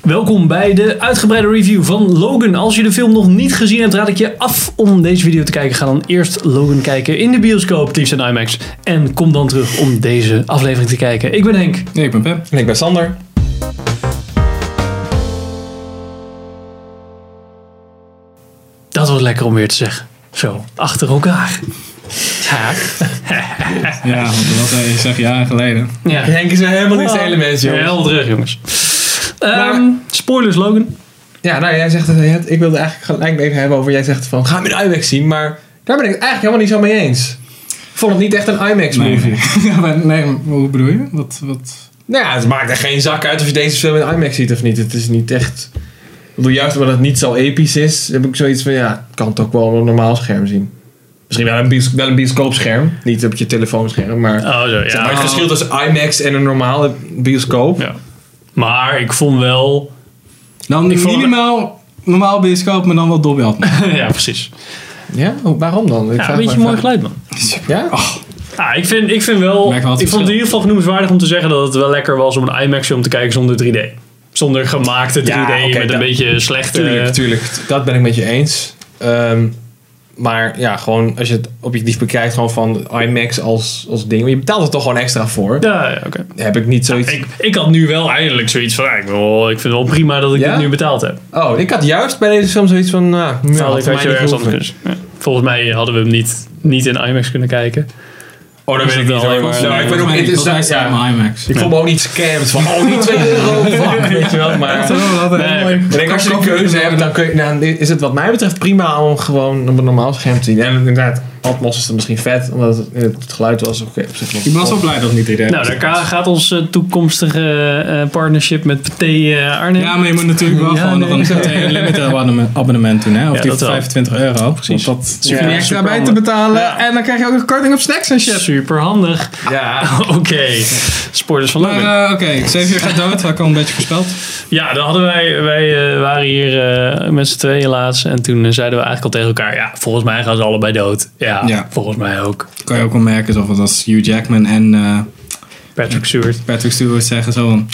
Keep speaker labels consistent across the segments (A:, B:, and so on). A: Welkom bij de uitgebreide review van Logan. Als je de film nog niet gezien hebt, raad ik je af om deze video te kijken. Ga dan eerst Logan kijken in de bioscoop, het liefst in IMAX. En kom dan terug om deze aflevering te kijken. Ik ben Henk.
B: Nee, ik ben Pep.
C: En ik ben Sander.
A: Dat was lekker om weer te zeggen. Zo, achter elkaar. Ja.
B: Ja, want dat eh, zeg jaren geleden.
A: ja.
C: Henk is weer helemaal in zijn
A: Oh,
C: element, joh.
A: Heel terug, jongens.
C: Maar-
A: Ehm, spoilers, Logan.
C: Ja, nou, jij zegt het. Ik wilde eigenlijk gelijk even hebben over... Jij zegt van, ga hem in IMAX zien. Maar daar ben ik het eigenlijk helemaal niet zo mee eens. Ik vond het niet echt een IMAX-movie.
B: Nee, nee. Ja, maar nee, maar hoe bedoel je? Wat, wat?
C: Nou ja, het maakt er geen zak uit of je deze film in IMAX ziet of niet. Het is niet echt... Ik bedoel, juist omdat het niet zo episch is, heb ik zoiets van... Ja, ik kan het ook wel op een normaal scherm zien. Misschien wel een, bios- wel een bioscoopscherm. Niet op je telefoonscherm, maar...
B: Ah.
A: Oh, zo,
C: zeg maar het verschil tussen IMAX en een normale bioscoop.
A: Ja. Maar ik vond wel...
B: Dan
A: Ik vond-
B: minimaal normaal bioscoop, maar dan wel Dolby Atmos.
A: ja, precies.
C: Ja? Oh, Waarom dan? Ik
A: Ja,
C: vraag
A: een beetje
C: me
A: mooi
C: af.
A: geluid, man.
C: Ja?
A: Ah, ik vind, ik vind wel...
B: Merk
A: Ik
B: wel
A: vond het
B: het
A: in
B: verschil.
A: ieder geval genoemenswaardig om te zeggen dat het wel lekker was om een IMAX film te kijken zonder 3D. Zonder gemaakte 3D
C: Ja, oké,
A: met een
C: dat-
A: beetje slechte...
C: Tuurlijk, tuurlijk. T- Dat ben ik met je eens. Ehm, maar ja, gewoon als je het objectief bekijkt, gewoon van IMAX als, als ding. Je betaalt er toch gewoon extra voor.
A: Ja, ja, oké.
C: Heb ik niet zoiets.
A: Ik, ik had nu wel eindelijk zoiets van, ah, ik, wil, wel- ik vind het wel prima dat ik
C: Ja?
A: dit nu betaald heb.
C: Oh, ik had juist bij deze film zoiets van. nou, nou,
A: Nou,
C: had
A: ik had
C: mij
A: je
C: niet
A: ergens
C: hoeven.
A: anders kunnen- ja. Volgens mij hadden we hem niet, niet in IMAX kunnen kijken.
C: Oh, dat
A: Is
C: weet ik
A: het
C: niet
A: wel,
C: hoor.
A: maar-
C: Nou, ik weet ook
B: Volgens mij
C: niet.
B: niet.
C: het is-
B: Volgens mij
C: ja,
B: staat mijn IMAX.
C: Ik voel me ook niet scammed van. Oh, niet 2 euro. Fuck, weet je wel. Maar.
B: Oh,
A: Nee,
C: Ik denk, als je de keuze hebt, dan kun je, nou, is het wat mij betreft prima om gewoon op een normaal scherm te zien. En inderdaad, Atmos is er misschien vet, omdat het, het geluid was oké. op zich nog-
B: Ik was wel blij dat het niet idee
A: Nou, daar ka- gaat ons eh, toekomstige eh, partnership met PT eh Arnhem.
B: Ja, maar je moet natuurlijk wel
A: Ja,
B: gewoon
A: nee.
B: nog een een limited abonnement, abonnement doen, hè? Of
A: Ja,
B: die
A: dat
B: voor
A: wel.
B: 25 euro.
A: Precies.
B: Want dat
A: Ja,
B: je niet extra
A: super
B: bij te
A: handig.
B: betalen.
A: Ja.
B: En dan krijg je ook nog korting op snacks en shit.
A: Super handig.
C: Ja.
A: Oké, spoilers van
B: Maar
A: Logan.
B: eh, oké, Xavier gaat dood. Had ik al een beetje voorspeld.
A: Ja, dan hadden wij, wij eh, waren hier eh, met z'n tweeën laatst. En toen eh, zeiden we eigenlijk al tegen elkaar: ja, volgens mij gaan ze allebei dood. Ja,
B: Ja.
A: volgens mij ook.
B: Kan je ook wel merken, zo van als Hugh Jackman en eh,
A: Patrick Stewart.
B: Patrick Stewart zeggen zo van...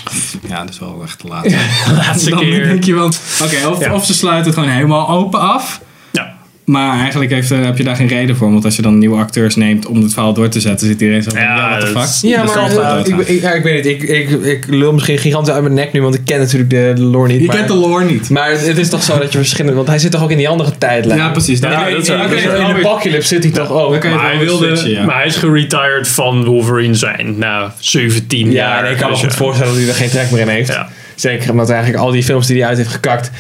B: Ja, dat is wel echt te laat.
A: Laatste
B: dan
A: keer.
B: denk je want Oké, of,
A: Ja.
B: of ze sluiten het gewoon helemaal open af.
A: Ja.
B: Maar eigenlijk heeft, eh, heb je daar geen reden voor. Want als je dan nieuwe acteurs neemt om het verhaal door te zetten, zit iedereen zo van,
A: Ja,
B: ja, what the
A: dat-
B: fuck.
C: Ja,
B: Dat zal
C: maar
B: wel
C: eh, ik,
B: doodgaan.
C: ik, ja, ik weet het. Ik, ik, ik lul misschien gigantisch uit mijn nek nu, want ik ken natuurlijk de, de lore niet.
B: Je
C: maar,
B: kent de lore niet.
C: Maar het, het is toch zo dat je verschillende... Want hij zit toch ook in die andere tijdlijn?
B: Ja, precies.
A: Ja,
B: Daar-
A: dat is
C: in,
A: waar,
C: in,
A: dat is
C: in,
A: waar.
C: de apocalypse zit hij toch ook.
B: Oké.
A: Maar hij,
B: wel
A: wilde,
B: switchen, ja.
A: maar hij is geretired van Wolverine zijn na 17
C: Ja,
A: jaar.
C: nee, ik kan me
A: Dus
C: goed
A: ja.
C: voorstellen dat hij er geen trek meer in heeft.
A: Ja.
C: Zeker omdat eigenlijk al die films die hij uit heeft gekakt...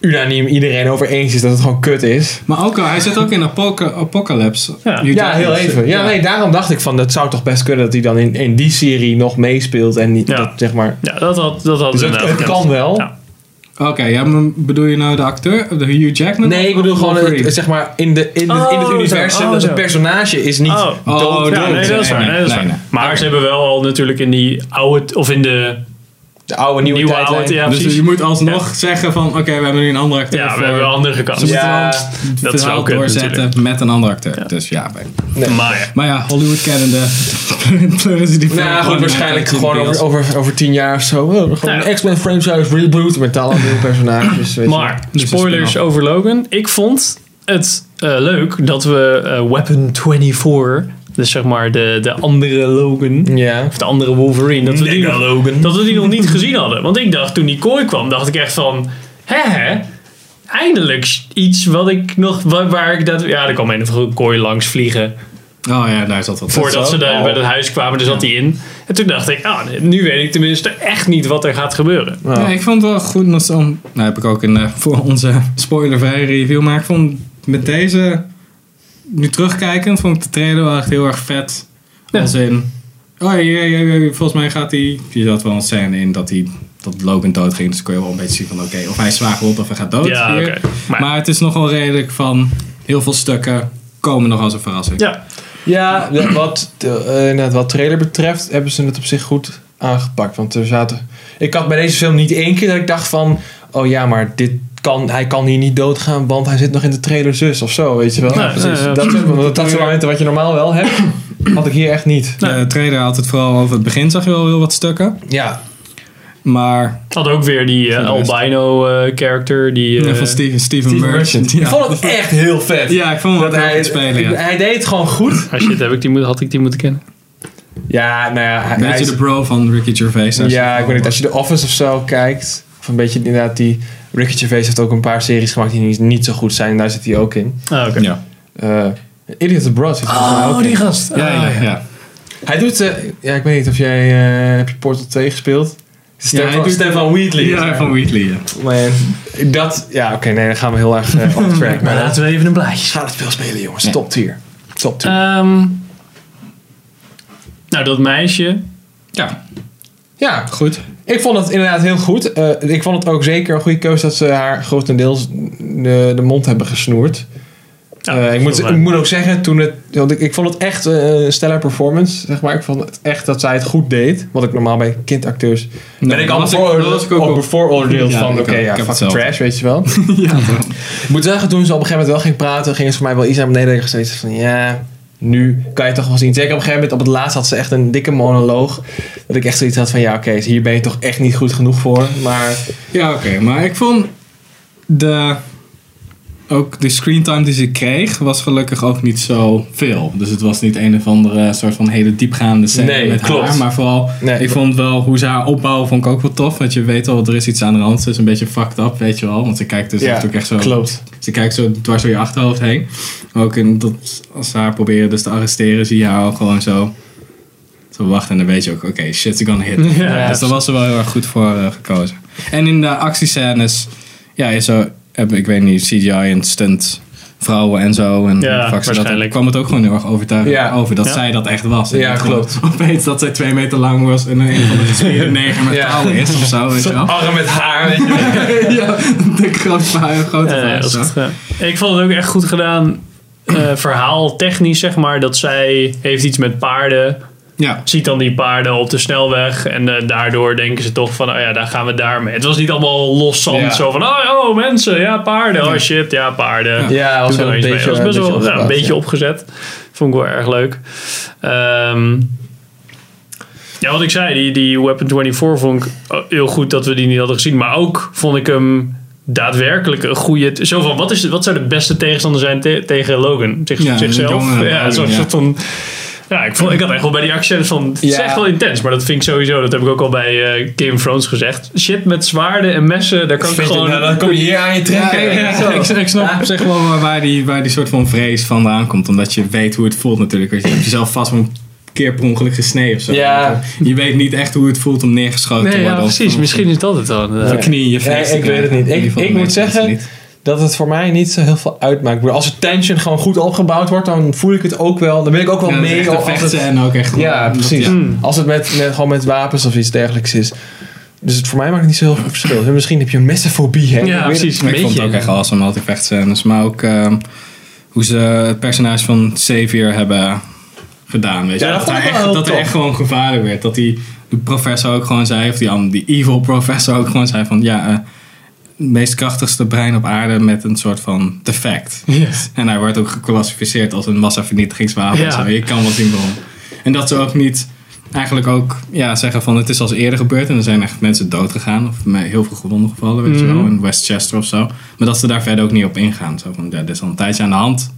C: unaniem iedereen over eens is dat het gewoon kut is.
B: Maar ook al, hij zit ook in Apoca- Apocalypse.
A: Ja.
B: Hugh
C: Ja,
B: Jackman.
C: heel even. Ja, nee, daarom dacht ik van... dat zou toch best kunnen dat hij dan in, in die serie nog meespeelt... en niet,
A: Ja.
C: dat, zeg maar...
A: Ja, dat had, dat had
C: Dus het,
A: inderdaad
C: het
A: gekund.
C: kan wel.
A: Ja.
B: Oké, ja, maar bedoel je nou de acteur? De Hugh Jackman?
C: Nee, ik bedoel
B: Of
C: gewoon,
B: Wolverine?
C: het, zeg maar, in, de, in, het- in het
A: Oh,
C: universum,
A: zo. Oh,
C: dat
A: zo.
C: het personage is niet
A: Oh.
B: Oh,
C: dood.
A: Ja,
B: dood.
A: nee, dat is waar. Nee, dat is waar.
B: Nee, nee.
A: Maar ze hebben wel al natuurlijk in die oude, of in de
C: De oude, nieuwe,
A: nieuwe
C: tijdlijn.
A: oude, ja
B: dus
A: precies.
B: je moet alsnog zeggen van, oké, we hebben nu een andere acteur
A: Ja,
B: voor.
A: we hebben wel andere
B: Ze
A: gekast.
C: Ja,
B: moeten wel het
A: dat is
B: verhaal
A: wel kut
B: doorzetten
A: natuurlijk.
B: met een andere acteur. Dus ja, ben-
C: Nee.
A: Maar ja.
B: Maar ja, Hollywood kennende. pleuren ze die film
C: Nou, goed,
B: gewoon
C: waarschijnlijk
B: uit in
C: gewoon
B: beeld.
C: over, over, over tien jaar of zo. Oh, gewoon
A: Nou ja.
C: een X-Men franchise reboot met alle nieuwe personages. Weet je.
A: Maar,
B: Dus een
A: spoilers
B: spin-off.
A: over Logan. Ik vond het eh, leuk dat we eh, Weapon 24, dus zeg maar de, de andere Logan,
C: Ja.
A: of de andere Wolverine, dat we, die nog, dat we die nog niet gezien hadden. Want ik dacht, toen die kooi kwam, dacht ik echt van, hè hè, eindelijk iets wat ik nog, waar, waar ik dat, ja, er kwam een of andere kooi langs vliegen.
B: Oh ja, daar zat wat.
A: Voordat
C: zo?
A: ze daar
C: Oh.
A: bij het huis kwamen, daar zat hij in. En toen dacht ik, ah, nu weet ik tenminste echt niet wat er gaat gebeuren.
C: Ja.
B: Ja, ik vond het wel goed. dat ze om- Nou, heb ik ook in, eh, voor onze spoilervrije review. Maar ik vond met deze, nu terugkijkend, vond ik de trailer wel echt heel erg vet.
A: Ja.
B: Als in, oh ja, ja, ja, ja, volgens mij gaat hij, je zat wel een scène in dat hij, dat Logan dood ging. Dus kon je wel een beetje zien van, oké, of hij is zwaar gewond of hij gaat dood.
A: Ja,
B: hier.
A: oké. Maar-
B: Maar, het is nogal redelijk van, heel veel stukken komen nog als een verrassing.
A: Ja,
C: Ja, de- wat, de, eh, inderdaad, wat trailer betreft hebben ze het op zich goed aangepakt. Want er zaten... Ik had bij deze film niet één keer dat ik dacht van... Oh ja, maar dit kan, hij kan hier niet doodgaan, want hij zit nog in de trailer zus of zo, weet je wel.
A: Ja,
C: Ja,
A: precies.
C: Dat, soort- want dat soort momenten wat je normaal wel hebt, had ik hier echt niet.
B: De trailer had het vooral over het begin, zag je wel heel wat stukken.
C: Ja,
B: Maar
A: Had ook weer die eh,
B: Voor de rest.
A: albino eh, character. Die, eh,
B: ja, van Steven, Steven,
C: Steven
B: Merchant.
C: Merchant. Ik
B: Ja.
C: vond het echt heel vet.
B: ja, ik vond hem
C: Dat
B: wel leuk
C: hij,
B: om te spelen. ja.
C: hij deed het gewoon goed.
A: ah, shit, heb ik die, moet- had ik die moeten kennen.
C: Ja, nou ja. hij-
B: Een
C: hij
B: beetje
C: is-
B: de bro van Ricky Gervais. daar
C: ja,
B: zit
C: ik weet niet. Als je The Office of zo kijkt. Of een beetje inderdaad die... Ricky Gervais heeft ook een paar series gemaakt die niet, niet zo goed zijn. Daar zit hij ook in.
A: Ah, oké.
B: Ja. Ah,
C: Eh Idiot Abroad zit hij
A: Oh,
C: ook in.
A: Ah, gast.
B: Ja,
C: Ah,
B: ja, ja.
C: Hij doet... eh, ja, ik weet niet of jij... eh, heb je Portal 2 gespeeld? Stem
B: hij
C: van,
B: doet-
C: stem van Wheatley.
B: Ja, van Wheatley, ja.
C: Man, dat... Ja, oké. nee, dan gaan we heel erg eh, off track.
A: Maar
C: Maar
A: laten we even een blaadje.
C: Ga het spel spelen, jongens.
B: Ja. Eh,
C: Top tier. Top tier.
A: Ehm, nou, dat meisje.
B: Ja,
C: ja,
B: goed.
C: ik vond het inderdaad heel goed. Eh, ik vond het ook zeker een goede keuze dat ze haar grotendeels de, de mond hebben gesnoerd.
A: Nou,
C: Eh, ik, moet,
A: wel-
C: ik moet ook zeggen, toen het, want ik, ik vond het echt eh, een stellar performance, zeg maar. Ik vond het echt dat zij het goed deed. Wat ik normaal bij kindacteurs... ben ik al
B: dat was ik- dat was ik ook
C: al
B: op.
C: bevooroordeeld
B: Ja,
C: van,
B: ik
C: oké,
B: ook. Ik
C: ja,
B: heb
C: fucking
B: hetzelfde.
C: trash, weet je wel.
B: ja.
C: Ik moet zeggen, toen ze op een gegeven moment wel ging praten, ging ze voor mij wel iets naar beneden. Ik had zoiets van, ja, nu kan je het toch wel zien. Zeker op een gegeven moment, op het laatst had ze echt een dikke monoloog. Dat ik echt zoiets had van, ja, oké, hier ben je toch echt niet goed genoeg voor. Maar
B: Ja, oké. Maar ik vond de... Ook de screentime die ze kreeg was gelukkig ook niet zo veel. Dus het was niet een of andere soort van hele diepgaande scène
C: Nee,
B: met
C: klopt.
B: haar. Maar vooral,
C: Nee.
B: ik vond wel hoe ze haar opbouwen vond ik ook wel tof. Want je weet al, er is iets aan de hand. Ze is een beetje fucked up, weet je wel. Want ze kijkt dus
C: Ja,
B: natuurlijk echt zo...
C: klopt.
B: Ze kijkt zo dwars door je achterhoofd heen. Ook in, dat, als ze haar proberen dus te arresteren, zie je haar al gewoon zo... Zo wachten en dan weet je ook, oké, shit, ze kan hit.
A: Ja.
B: dus daar was ze wel heel erg goed voor eh, gekozen. En in de actiescènes, ja, je zo, heb, ik weet niet, CGI en stunt vrouwen en zo. En
A: Ja,
B: hoe de fuck ze dat,
A: waarschijnlijk.
B: kwam het ook gewoon heel erg overtuigend
C: Ja.
B: over dat
A: Ja.
B: zij dat echt was. En
C: Ja,
B: niet gewoon
C: klopt.
B: Opeens dat zij twee meter lang was en een van de gespierde neger met
C: Ja.
B: touwen is of zo, weet je wel.
C: arm met haar, weet je wel.
B: ja, de grote vrouw, grote
A: Ja, ja,
B: vrouw.
A: dat is
B: zo.
A: goed gedaan. Ik vond Eh, het ook echt goed gedaan. eh, verhaal technisch, zeg maar. Dat zij heeft iets met paarden.
B: Ja,
A: Ziet dan die paarden op de snelweg. En eh, daardoor denken ze toch van, oh ja, daar gaan we daarmee. Het was niet allemaal los zand.
B: Ja.
A: Zo van, oh, oh, mensen, ja, paarden. Oh shit, ja, paarden.
C: Ja, was
A: Doe
C: wel
A: er
C: een
A: iets mee.
C: beetje...
A: Dat was best wel ja,
C: opgebouwd,
A: een beetje
C: ja.
A: opgezet. Vond ik wel erg leuk. Ehm, ja, wat ik zei, die, die Weapon 24 vond ik eh, heel goed dat we die niet hadden gezien. Maar ook vond ik hem daadwerkelijk een goede... t- Zo van, wat, is, wat zou de beste tegenstander zijn te- tegen Logan? Zich,
B: Ja,
A: zichzelf?
B: een jonge
A: ja,
B: Logan,
A: zo'n
B: ja.
A: soort van... Ja, ik, vond, ik had echt wel bij die accent van... Het is
C: Ja.
A: echt wel intens, maar dat vind ik sowieso... Dat heb ik ook al bij eh Game of Thrones gezegd. Shit met zwaarden en messen, daar kan ik
C: Vind je,
A: gewoon...
C: nou, dan kom je hier aan je trekken.
B: Ja, ja,
C: Zo.
B: ik, ik snap op zich wel waar- waar die, waar die soort van vrees vandaan komt. Omdat je weet hoe het voelt natuurlijk. Want Je hebt jezelf vast wel een keer per ongeluk gesneden of zo. eh,
C: Ja.
B: Je weet niet echt hoe het voelt om neergeschoten te
A: Nee,
B: worden.
A: ja,
B: of-
A: precies.
B: of
A: Misschien is dat het dan. eh. inderdaad.
B: Op je knie in je
C: Nee,
B: face. te
C: ik weet
B: krijgen.
C: het niet.
B: In ieder geval
C: Ik- ik
B: de
C: moet
B: meeste mensen
C: zeggen-
B: niet.
C: dat het voor mij niet zo heel veel uitmaakt. Ik bedoel, Als de tension gewoon goed opgebouwd wordt, dan voel ik het ook wel. Dan ben ik ook wel
B: Ja,
C: mee.
B: echt een
C: als het-
B: vechten en ook echt...
C: Ja,
B: omdat-
C: precies.
B: ja.
A: Hmm.
C: Als het met, met- gewoon met wapens of iets dergelijks is. Dus het, voor mij maakt het niet zo heel veel verschil. En Misschien heb je een messenfobie, hè?
A: Ja,
C: Ik weet het.
A: precies. Een
B: Maar ik vond
A: beetje.
B: het ook echt awesome, al die vechtscènes. Maar ook ehm, hoe ze het personage van Xavier hebben gedaan. Weet je?
C: Ja, dat
B: dat
C: vond ik
B: hij
C: wel
B: echt,
C: heel
B: dat hij
C: tof.
B: echt gewoon gevaarlijk werd. Dat die, de professor ook gewoon zei, of die, an- die evil professor ook gewoon zei van... Ja, eh, het meest krachtigste brein op aarde met een soort van defect. En hij wordt ook geclassificeerd als een massavernietigingswapen.
A: Ja.
B: Zo. Je kan wel zien waarom. En dat ze ook niet eigenlijk ook ja, zeggen van het is als eerder gebeurd en er zijn echt mensen dood gegaan of me- heel veel gewonden gevallen, weet
A: Mhm.
B: je wel, in Westchester of zo. Maar dat ze daar verder ook niet op ingaan. Zo van, ja, dit is al een tijdje aan de hand.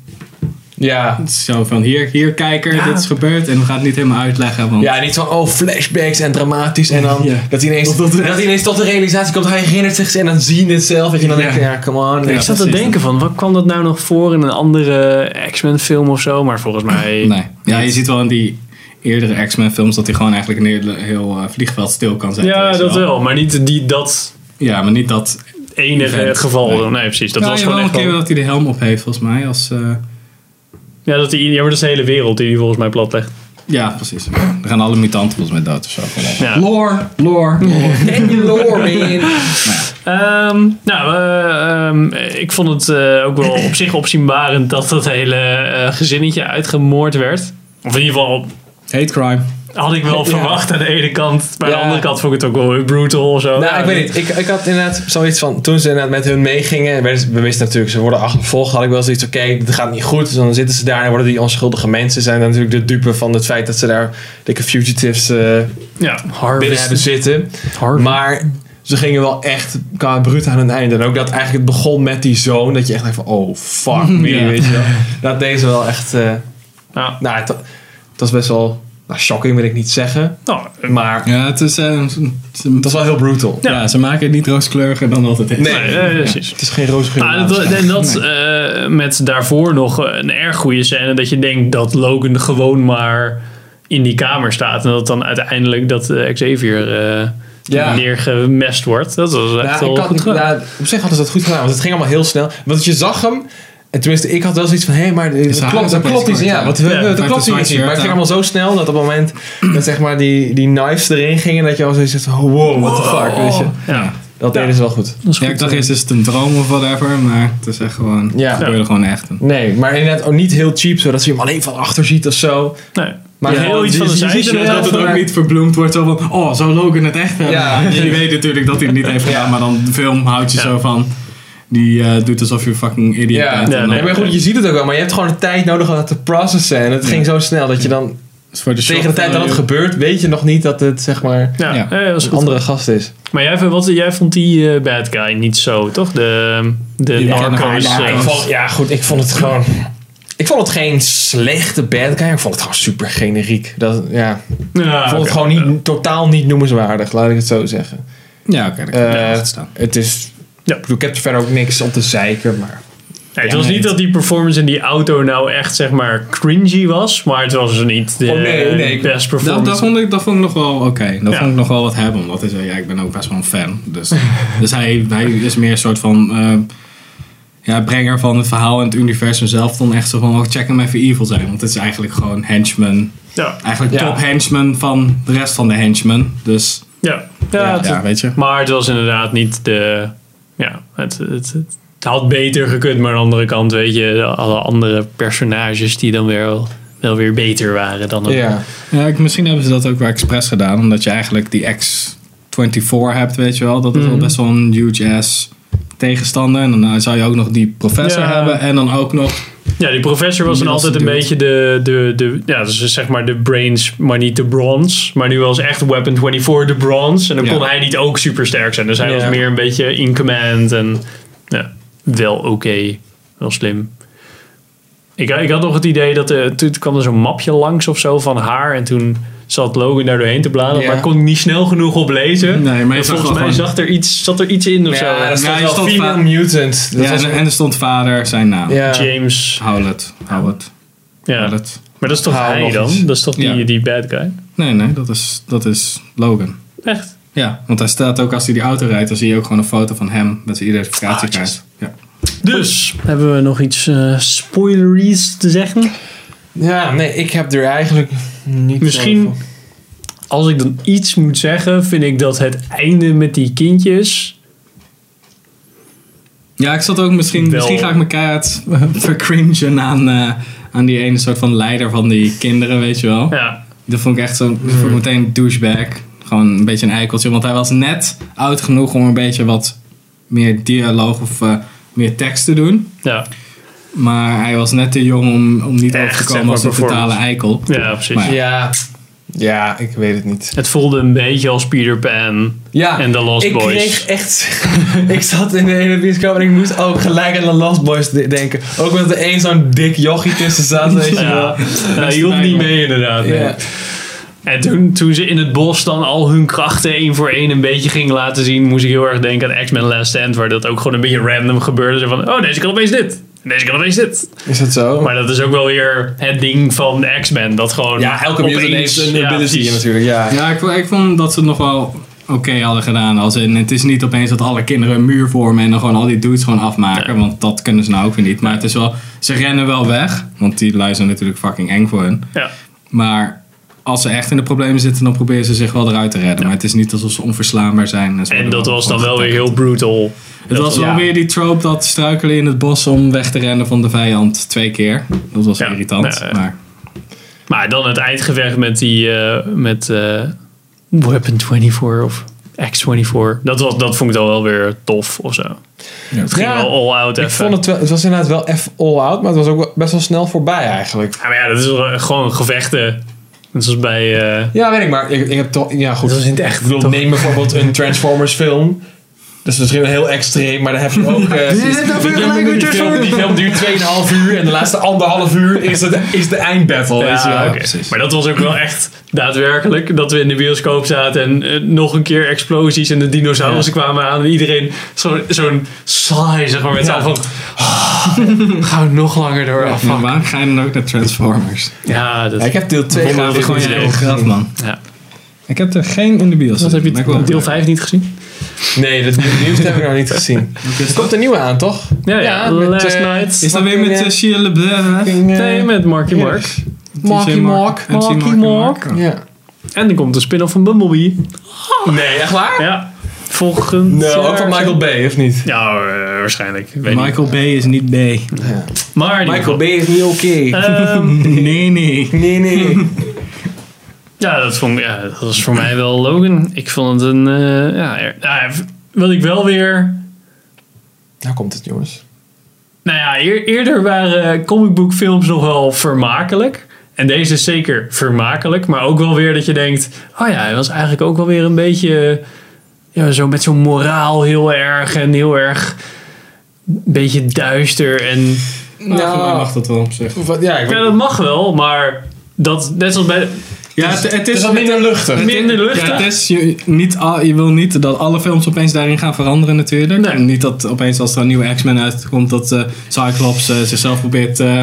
C: Ja.
B: Het is Zo van, hier, hier kijker, dit is gebeurd en we gaan het niet helemaal uitleggen. Want,
C: Ja, niet van, oh, flashbacks en dramatisch. En dan
B: Ja.
C: dat, hij ineens,
B: Of dat-
C: dat, hij ineens tot de realisatie komt. Hij herinnert zich en dan zie je het zelf. En je dan
B: Ja.
C: denkt, ja, come on.
A: ik
B: Ja.
A: zat te
B: precies.
A: denken van, wat kwam dat nou nog voor in een andere X-Men film of zo? Maar volgens mij...
B: Nee. Ja, je ziet wel in die eerdere X-Men films dat hij gewoon eigenlijk een heel, heel eh, vliegveld stil kan zetten.
A: Ja,
B: weet je
A: dat wel. Maar niet die, dat
B: Ja, maar niet dat...
A: enige
B: Event.
A: geval.
B: Nee.
A: Nee. precies. Dat
B: Ja,
A: was
B: ja,
A: gewoon
B: wel
A: echt
B: een keer
A: Nou, wel-
B: dat hij de helm op heeft volgens mij als... eh,
A: Ja, dat die, ja, maar dat is de hele wereld die die volgens mij plat legt.
B: Ja, precies. Er gaan alle mutanten volgens mij dood of zo.
A: Ja.
B: Lore, lore, lore.
C: En je lore, man.
A: Ehm, nou, eh, ehm, ik vond het eh, ook wel op zich opzienbarend dat dat hele eh, gezinnetje uitgemoord werd. Of in ieder geval
B: Hate crime.
A: Had ik wel
C: Ja.
A: verwacht aan de ene kant. Maar aan
C: Ja.
A: de andere kant vond ik het ook wel heel brutal of zo.
C: Nou, ik weet niet. Ik, ik had inderdaad zoiets van. Toen ze inderdaad met hun meegingen. werden ze- We wisten natuurlijk, ze worden achtervolgd. Had ik wel zoiets. Oké, dit gaat niet goed. Dus dan zitten ze daar en worden die onschuldige mensen. Zijn dan natuurlijk de dupe van het feit dat ze daar dikke fugitives eh,
A: Ja,
C: binnen hebben
A: Harvest.
C: zitten.
A: Harvest.
C: Maar ze gingen wel echt qua bruut aan hun einde. En ook dat eigenlijk het begon met die zoon. Dat je echt dacht van, oh fuck me,
B: Ja.
C: weet je wel. Dat deze wel echt... eh,
A: Ja.
C: nou, het, het was best wel... Nou, shocking wil ik niet zeggen.
A: Nou,
C: Maar
B: Ja, het is, eh, ze-
C: het was wel heel brutal.
B: ja. ze maken het niet rooskleuriger dan dat het is.
C: Nee.
A: nee, eh, precies.
C: Het is geen roze geur.
A: Maar dat, en dat eh, met daarvoor nog een erg goede scène. Dat je denkt dat Logan gewoon maar in die kamer staat. En dat dan uiteindelijk dat eh, Xavier eh
C: Ja.
A: neergemest wordt. Dat was echt
C: Nou, ik
A: wel
C: had
A: goed
C: niet-
A: gedaan.
C: nou, op zich hadden ze dat goed gedaan, want het ging allemaal heel snel. Want je zag hem, en tenminste, ik had wel zoiets van: hé, maar er
B: haar
C: klopt,
B: is
C: er
B: opeens
C: klopt
B: zwart,
C: iets. Ja,
B: ja.
C: want
B: Ja,
C: we- we-
B: het
C: er
B: maakt
C: klopt
B: een
C: iets.
B: zwart
C: Maar het
B: shirt
C: ging allemaal zo snel dat op het moment dat zeg maar die, die knives erin gingen, dat je al zoiets zegt: van, wow, what the fuck. Weet je.
A: ja,
C: Dat deden ze wel goed.
A: dat is
B: Ja,
A: goed.
B: ik dacht eerst is eh. het een droom of whatever, maar het is echt gewoon,
C: Ja.
B: het gebeurde gewoon echt.
C: Nee, maar inderdaad ook niet heel cheap, zodat ze hem alleen van achter ziet of zo.
A: Nee.
C: Maar
A: Maar heel
C: gewoon,
A: iets
C: je-
A: van een
C: je ziet
A: zijsje.
C: er
B: Dat het
A: dat-
C: wel-
B: ook niet verbloemd wordt, zo van, oh, zou Logan het echt hebben?
C: Ja.
B: Je weet natuurlijk dat hij het niet heeft gedaan, maar dan de film houdt je
A: Ja.
B: zo van, die eh, doet alsof je fucking idiot bent.
C: Ja,
A: Ja,
B: En
A: nee,
B: dan-
C: Nee, maar goed, je ziet het ook wel, maar je hebt gewoon de tijd nodig om dat te processen. En het ging zo snel dat je dan
B: Dus voor de
C: tegen de
B: shock
C: tijd dat het
B: value-
C: gebeurt, weet je nog niet dat het zeg maar
A: Ja,
B: Ja.
A: eh, dat was
C: een
A: goed.
C: andere gast is.
A: Maar jij, vond- wat, jij vond die eh, bad guy niet zo, toch? De, de
B: Die
A: narco's.
B: narco-
A: eh,
C: Ik vond- ja, goed, ik vond het gewoon. Ik vond het geen slechte bad guy. Ik vond het gewoon super generiek. Dat, ja. Ik
A: ja, Ah,
C: vond
A: oké.
C: het gewoon niet, totaal niet noemenswaardig, laat ik het zo zeggen.
B: Ja, oké, dat kan
C: Eh,
B: ik wel staan.
C: Het is.
A: Ja.
C: Ik, bedoel, ik heb er verder ook niks op te zeiken, maar.
A: Nee, het was
B: nee,
A: niet
B: het-
A: dat die performance in die auto nou echt zeg maar cringy was, maar het was dus niet de
C: Oh, nee, nee, ik-
A: best
B: Dat,
A: performance.
B: dat, vond ik, dat vond ik nog wel oké. Dat
A: Ja.
B: vond ik nog wel wat hebben. Omdat hij zei, ja, ik ben ook best wel een fan. Dus, dus hij, hij is meer een soort van eh, ja, brenger van het verhaal en het universum zelf. Dan echt zo van, oh, check hem even evil zijn. Want het is eigenlijk gewoon henchman.
A: ja,
B: Eigenlijk
C: Ja.
B: top henchman van de rest van de henchmen. Dus
A: ja, ja,
B: ja,
A: het-
B: weet je.
A: Maar het was inderdaad niet de. Ja, het, het, het had beter gekund, maar aan de andere kant, weet je, alle andere personages die dan weer wel, wel weer beter waren dan hem.
C: Ja.
B: Ja, ik, misschien hebben ze dat ook wel expres gedaan. Omdat je eigenlijk die X-24 hebt, weet je wel. Dat is wel
A: Mhm.
B: best wel een huge ass tegenstander. En dan eh, zou je ook nog die professor
A: Ja.
B: hebben. En dan ook nog
A: Ja, die professor was dan
B: Die was
A: altijd een
B: de
A: beetje de, de, de, ja, dus zeg maar de brains, maar niet de bronze. Maar nu was echt Weapon 24 de bronze. En dan
B: Ja.
A: kon hij niet ook super sterk zijn. Dus hij
C: Ja.
A: was meer een beetje in command en ja, wel oké, wel slim. Ik, ik had nog het idee dat eh, toen kwam er zo'n mapje langs of zo van haar. En toen zat Logan daar doorheen te bladeren,
C: Ja.
A: maar kon ik niet snel genoeg op lezen.
B: Nee, maar je
A: En
B: zag
A: volgens
B: wel
A: mij
B: gewoon-
A: zag er iets, zat er iets in of
C: Ja, dat
A: zo.
C: stond
B: je
C: wel
B: stond
C: Female
B: vaak-
C: Mutant. Dat
B: ja,
C: was,
B: en, en er stond vader zijn naam.
C: ja.
A: James.
B: Howlett. Howlett.
A: Ja.
B: Howlett.
A: Maar dat is toch
C: Haal
A: hij
C: nog
A: dan?
C: iets.
A: Dat is toch die,
B: Ja.
A: die bad guy?
B: Nee, nee, dat is, dat is Logan.
A: Echt?
B: Ja, want hij staat ook als hij die auto rijdt, dan zie je ook gewoon een foto van hem met zijn identificatiekaart. ja.
A: Dus, hebben we nog iets eh spoileries te zeggen?
C: ja, nee, ik heb er eigenlijk niet
A: Misschien-
C: zoveel-
A: Als ik dan iets moet zeggen, vind ik dat het einde met die kindjes...
B: ja, ik zat ook misschien,
A: Wel-
B: misschien ga ik me keihard eh, vercringen aan, eh, aan die ene soort van leider van die kinderen, weet je wel.
A: Ja, Mm.
B: Dat vond ik echt zo'n, dat vond ik meteen een douchebag. Gewoon een beetje een eikeltje, want hij was net oud genoeg om een beetje wat meer dialoog of eh, meer tekst te doen.
A: ja,
B: Maar hij was net te jong om, om niet
A: Echt,
B: over te
A: zeg
B: komen
A: maar,
B: als een totale
A: performance.
B: eikel.
A: ja precies.
B: Maar ja.
C: Ja. Ja, ik weet het niet.
A: Het voelde een beetje als Peter Pan
C: Ja,
A: en The Lost
C: ik
A: Boys.
C: kreeg echt... ik zat in de hele bioscoop en ik moest ook gelijk aan de Lost Boys de- denken. Ook omdat er één zo'n dik jochie tussen zat, weet je wel.
A: Ja, ja, die hielp niet mee inderdaad. nee.
C: Ja.
A: En toen, toen ze in het bos dan al hun krachten één voor één een beetje gingen laten zien, moest ik heel erg denken aan X-Men Last Stand, waar dat ook gewoon een beetje random gebeurde. Zo van, oh, deze kan opeens dit. En Deze kan opeens dit.
C: Is dat zo?
A: Maar dat is ook wel weer het ding van de X-Men. Dat gewoon.
C: ja, elke
A: opeens-
C: mutant heeft een
A: ja,
C: ability
A: precies.
C: natuurlijk, ja.
B: Ja, ik, vond- ik vond dat ze het nog wel oké hadden gedaan. Als in, het is niet opeens dat alle kinderen een muur vormen en dan gewoon al die dudes gewoon afmaken. Want dat kunnen ze nou ook weer niet. Maar het is wel, ze rennen wel weg. Want die lui zijn natuurlijk fucking eng voor hun.
A: Ja.
B: Maar als ze echt in de problemen zitten, dan proberen ze zich wel eruit te redden. Maar het is niet alsof ze onverslaanbaar zijn. ze
A: En
B: worden
A: dat was dan
B: gewoon
A: wel weer
B: getackled.
A: heel brutal.
B: Het was wel
C: ja.
B: weer die trope dat struikelen in het bos om weg te rennen van de vijand twee keer. Dat was
A: Ja,
B: irritant.
A: nou, eh.
B: maar
A: Maar dan het eindgevecht met die, eh, met eh, Weapon 24 of X24. Dat, was, dat vond ik dan wel weer tof of zo. Het ging
C: Ja,
A: wel all out
C: Ik
A: even.
C: vond het, wel, het was inderdaad wel even all-out, maar het was ook wel- best wel snel voorbij eigenlijk.
A: Ja, maar ja, dat is wel, eh, gewoon gevechten. Net zoals bij... eh,
C: Ja, weet ik, maar ik, ik heb toch... Ja, goed.
A: Dat was in het echt,
C: Ik bedoel,
A: toch?
C: neem bijvoorbeeld een Transformers film. Dat is misschien wel heel extreem, maar dan heb je ook... eh,
A: Dit is nou weer
C: die, film-
A: gelijk met
C: die film,
A: Transformers.
C: die film duurt 2,5 uur en de laatste anderhalf uur is, het, is de eindbattle. weet je wel.
A: Ja, oké.
B: precies.
A: Maar dat was ook wel echt daadwerkelijk. Dat we in de bioscoop zaten en eh, nog een keer explosies en de dinosaurussen kwamen aan. En iedereen zo'n zo'n saai, zeg maar, met z'n
C: Ja.
A: allen van... "Ah, gaan we nog langer door af.
B: Maar waarom ga je dan ook naar Transformers?
A: Ja, dat...
C: Ja, ik heb deel 2
A: Vond
C: gedaan.
A: ik
B: Gewoon je
A: idee.
B: eigen graf, man.
A: Ja.
B: Ik heb er geen in de bios.
A: Wat heb je
B: Maar ik wil-
A: het- deel 5 niet gezien?
C: Nee, dat nieuwste heb ik nog niet gezien. Er komt een nieuwe aan, toch?
A: Ja, ja.
C: Ja, met,
A: Last
C: eh,
A: Night.
B: Is dat weer met uh, Shia LaBeouf?
A: Nee, met Marky Mark.
C: Marky Mark.
A: Marky Mark.
C: Ja.
A: En er komt een spin-off van Bumblebee.
C: Oh. Nee, echt waar?
A: Ja. Volgend
C: Nee,
A: jaar-
C: Nou, ook van Michael Bay, of niet?
A: Ja, eh, waarschijnlijk. Ik Weet niet.
B: Michael Bay is niet Bay.
A: Maar in ieder
C: Michael
A: geval-
C: Bay is niet oké.
A: Ehm,
B: Nee, nee.
C: Nee, nee.
A: Ja, dat, vond, ik- ja, dat was voor mij wel Logan. Ik vond het een. eh, ja, er- nou, ja, wat ik wel weer.
C: Nou komt het, jongens.
A: Nou ja, eer- eerder waren comicboekfilms nog wel vermakelijk. En deze is zeker vermakelijk. Maar ook wel weer dat je denkt. Oh ja, hij was eigenlijk ook wel weer een beetje. Ja, zo met zo'n moraal heel erg. En heel erg. Een beetje duister. En.
B: Nou, voor mij mag dat wel op zich.
C: Wat- ja, ik
A: Ja,
C: weet-
A: dat mag wel. Maar dat, net zoals bij.
B: Ja, het, het
C: het is
B: is...
C: wat minder luchtig.
A: Minder luchtig.
B: Ja, het is, je, niet al, je wil niet dat alle films opeens daarin gaan veranderen natuurlijk.
A: Nee.
B: En niet dat opeens als er een nieuwe X-Men uitkomt dat eh, Cyclops eh, zichzelf probeert eh,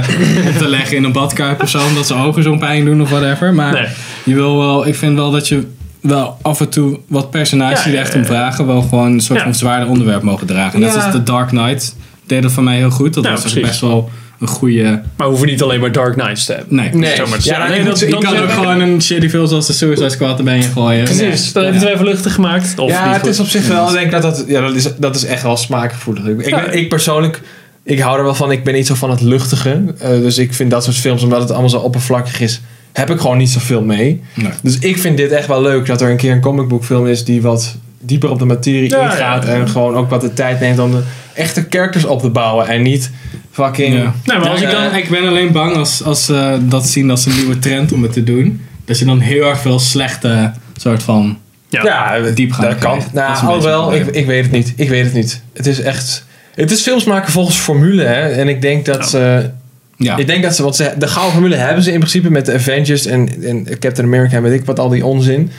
B: op te leggen in een badkuip of zo. Omdat zijn ogen zo'n pijn doen of whatever. Maar
A: Nee.
B: je wil wel, ik vind wel dat je wel af en toe wat personages
A: Ja,
B: die er
A: ja,
B: echt om
A: ja.
B: vragen wel gewoon een soort
A: Ja.
B: van zwaarder onderwerp mogen dragen. Net
C: Ja.
B: als The Dark Knight deed dat voor mij heel goed. Dat
A: Ja,
B: was ook
A: precies.
B: best wel een goede...
A: Maar we hoeven niet alleen maar Dark Knights te hebben.
B: Nee.
C: Nee.
A: Zomaar te
C: Ja,
A: zeggen.
C: dan-
A: Nee, dat-
B: Je
A: dat
B: kan
A: is
B: ook
A: ook-
B: gewoon een shitty film zoals de Suicide Squad erbij in gooien.
A: Precies, dan
B: Ja.
A: heeft het even luchtig gemaakt. Of
C: ja,
A: niet
C: het
A: goed.
C: is op zich wel.
B: Mm.
C: Ik denk dat dat, ja, dat, is, dat is echt wel smaakgevoelig. Ik, ik,
A: Ja.
C: ben- ik persoonlijk, ik hou er wel van. Ik ben niet zo van het luchtige. Eh, dus ik vind dat soort films, omdat het allemaal zo oppervlakkig is, heb ik gewoon niet zoveel mee.
B: Nee.
C: Dus ik vind dit echt wel leuk dat er een keer een comicboekfilm is die wat dieper op de materie
A: Ja,
C: ingaat.
A: ja.
C: En gewoon ook wat de tijd neemt om de echte characters op te bouwen. En niet fucking.
B: Ja.
A: Nee, maar als ik
B: ik,
A: dan...
B: dan, ik ben alleen bang als, als ze dat zien als een nieuwe trend om het te doen. Dat je dan heel erg veel slechte soort van...
A: Ja.
C: Ja,
B: Diepgang
C: Dat kan.
B: krijgen. Dat is
C: Nou,
B: een beetje
C: alhoewel,
B: het
C: ik,
B: probleem.
C: ik weet het niet. Ik weet het niet. Het is echt... Het is films maken volgens formule, hè. En ik denk dat eh, ze...
B: Ja,
C: Ik denk dat ze... Want ze, de gouden formule hebben ze in principe met de Avengers en, en Captain America en weet ik wat, al die onzin.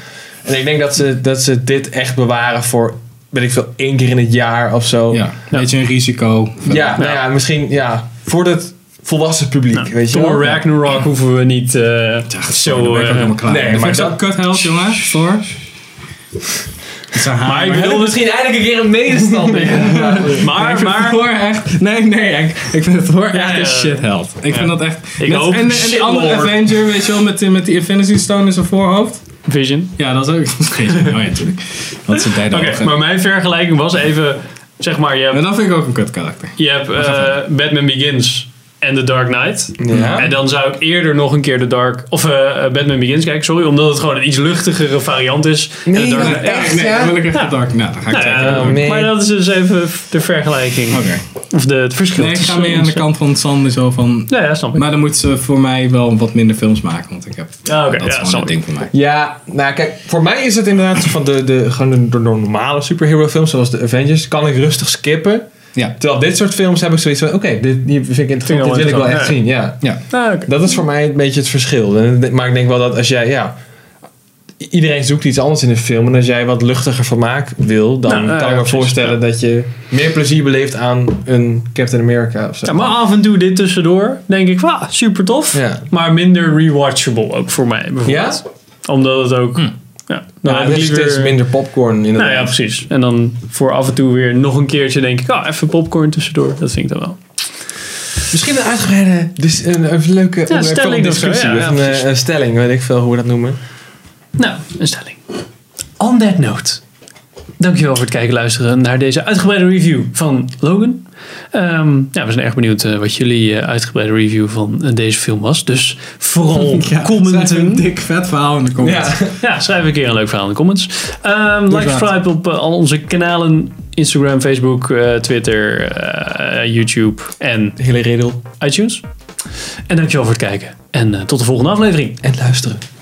C: En ik denk dat ze, dat ze dit echt bewaren voor, weet ik veel, één keer in het jaar of zo.
B: ja. beetje een risico.
C: ja, nou ja misschien, ja. Voor het volwassen publiek,
A: Nou,
C: weet je
A: Thor
C: wel.
A: Ragnarok hoeven we niet eh, zo... eh,
C: nee,
B: Nee,
C: maar
B: maar
C: dat-
B: dat... Cut held, jongen. Thor. Het is een
A: maar
B: hamer.
A: ik
C: Wil
A: bedoel...
C: misschien eindelijk een keer een medestander. Ja.
B: Nee, ik
A: Maar,
B: vind
A: maar...
B: Thor echt... Nee, nee, ik, ik vind Thor echt
A: ja.
B: een shitheld. Ik vind dat echt...
A: Ik
B: net-
A: ook.
B: en, en die andere
A: Shitlord.
B: Avenger, weet je wel, met, die- met die Infinity Stone in zijn voorhoofd.
A: Vision.
B: Ja, dat is ook... Oh ja, natuurlijk. Dat zijn beide
A: Oké,
B: ogen.
A: maar mijn vergelijking was even... Zeg maar, je
B: Maar
A: hebt,
B: dat vind ik ook een kut karakter.
A: je hebt eh, Batman Begins en The Dark Knight.
C: Ja.
A: En dan zou ik eerder nog een keer de Dark... Of eh, eh, Batman Begins kijken, sorry. Omdat het gewoon een iets luchtigere variant is. En
C: Nee,
A: The Dark
C: maar-
A: Knight-
C: Echt,
B: nee,
C: ja?
B: dan wil ik echt de Dark Knight. Dan ga ik
A: Nou
B: zeker
A: ja,
B: de Dark
C: Oh, nee.
A: Maar dat is dus even de vergelijking.
B: Oké.
A: Of de, het verschil.
B: Nee, ik ga
A: tussen
B: meer aan de
A: ons.
B: kant van Sander zo van...
A: Ja, ja, snap ik.
B: Maar dan moeten ze voor mij wel wat minder films maken. Want ik heb...
A: Ja, oké,
B: dat
A: ja,
B: is gewoon
A: snap
B: een
A: ik.
B: ding voor mij.
C: Ja, nou kijk, voor mij is het inderdaad van de, de, gewoon de, de normale superhero films zoals de Avengers, kan ik rustig skippen.
B: Ja.
C: Terwijl dit soort films heb ik zoiets van, oké, dit die vind ik
A: Vind ik wel
C: interessant, dit wil ik wel echt
A: interessant,
C: zien. Ja.
B: Ja.
A: Ah, oké.
C: Dat is voor mij een beetje het verschil. En- Maar ik denk wel dat als jij, ja, iedereen zoekt iets anders in een film. En als jij wat luchtiger vermaak wil, dan
A: Nou, ja,
C: kan ik
A: ja,
C: me
A: precies,
C: voorstellen dat je meer plezier beleeft aan een Captain America of zo.
A: Ja, maar af en toe dit tussendoor denk ik, wauw, super tof.
C: Ja.
A: Maar minder rewatchable ook voor mij bijvoorbeeld. Omdat het ook... Ja, dan
C: nou,
A: heb ik
C: het is
A: liever-
C: steeds minder popcorn in
A: Nou ja, precies. En dan voor af en toe weer nog een keertje denk ik, ah, even popcorn tussendoor. Dat vind ik dan wel.
C: Misschien een uitgebreide, dus een, een leuke onderwerp van
A: stelling of zo,
C: discussie.
A: ja,
C: Of
A: ja,
C: een,
A: precies.
C: eh, een stelling, weet ik veel hoe we dat noemen.
A: Nou, een stelling. On that note. Dankjewel voor het kijken en luisteren naar deze uitgebreide review van Logan. Ehm, ja, we zijn erg benieuwd eh, wat jullie eh, uitgebreide review van eh, deze film was. Dus vooral
B: schrijf
A: commenten.
B: een dik vet verhaal in de comments.
C: Ja.
A: Ja, schrijf een keer een leuk verhaal in de comments. Ehm, like,
B: laat.
A: subscribe op eh, al onze kanalen. Instagram, Facebook, eh, Twitter, eh, YouTube en
C: Hele riddel.
A: iTunes. En dankjewel voor het kijken. En eh, tot de volgende aflevering.
C: En luisteren.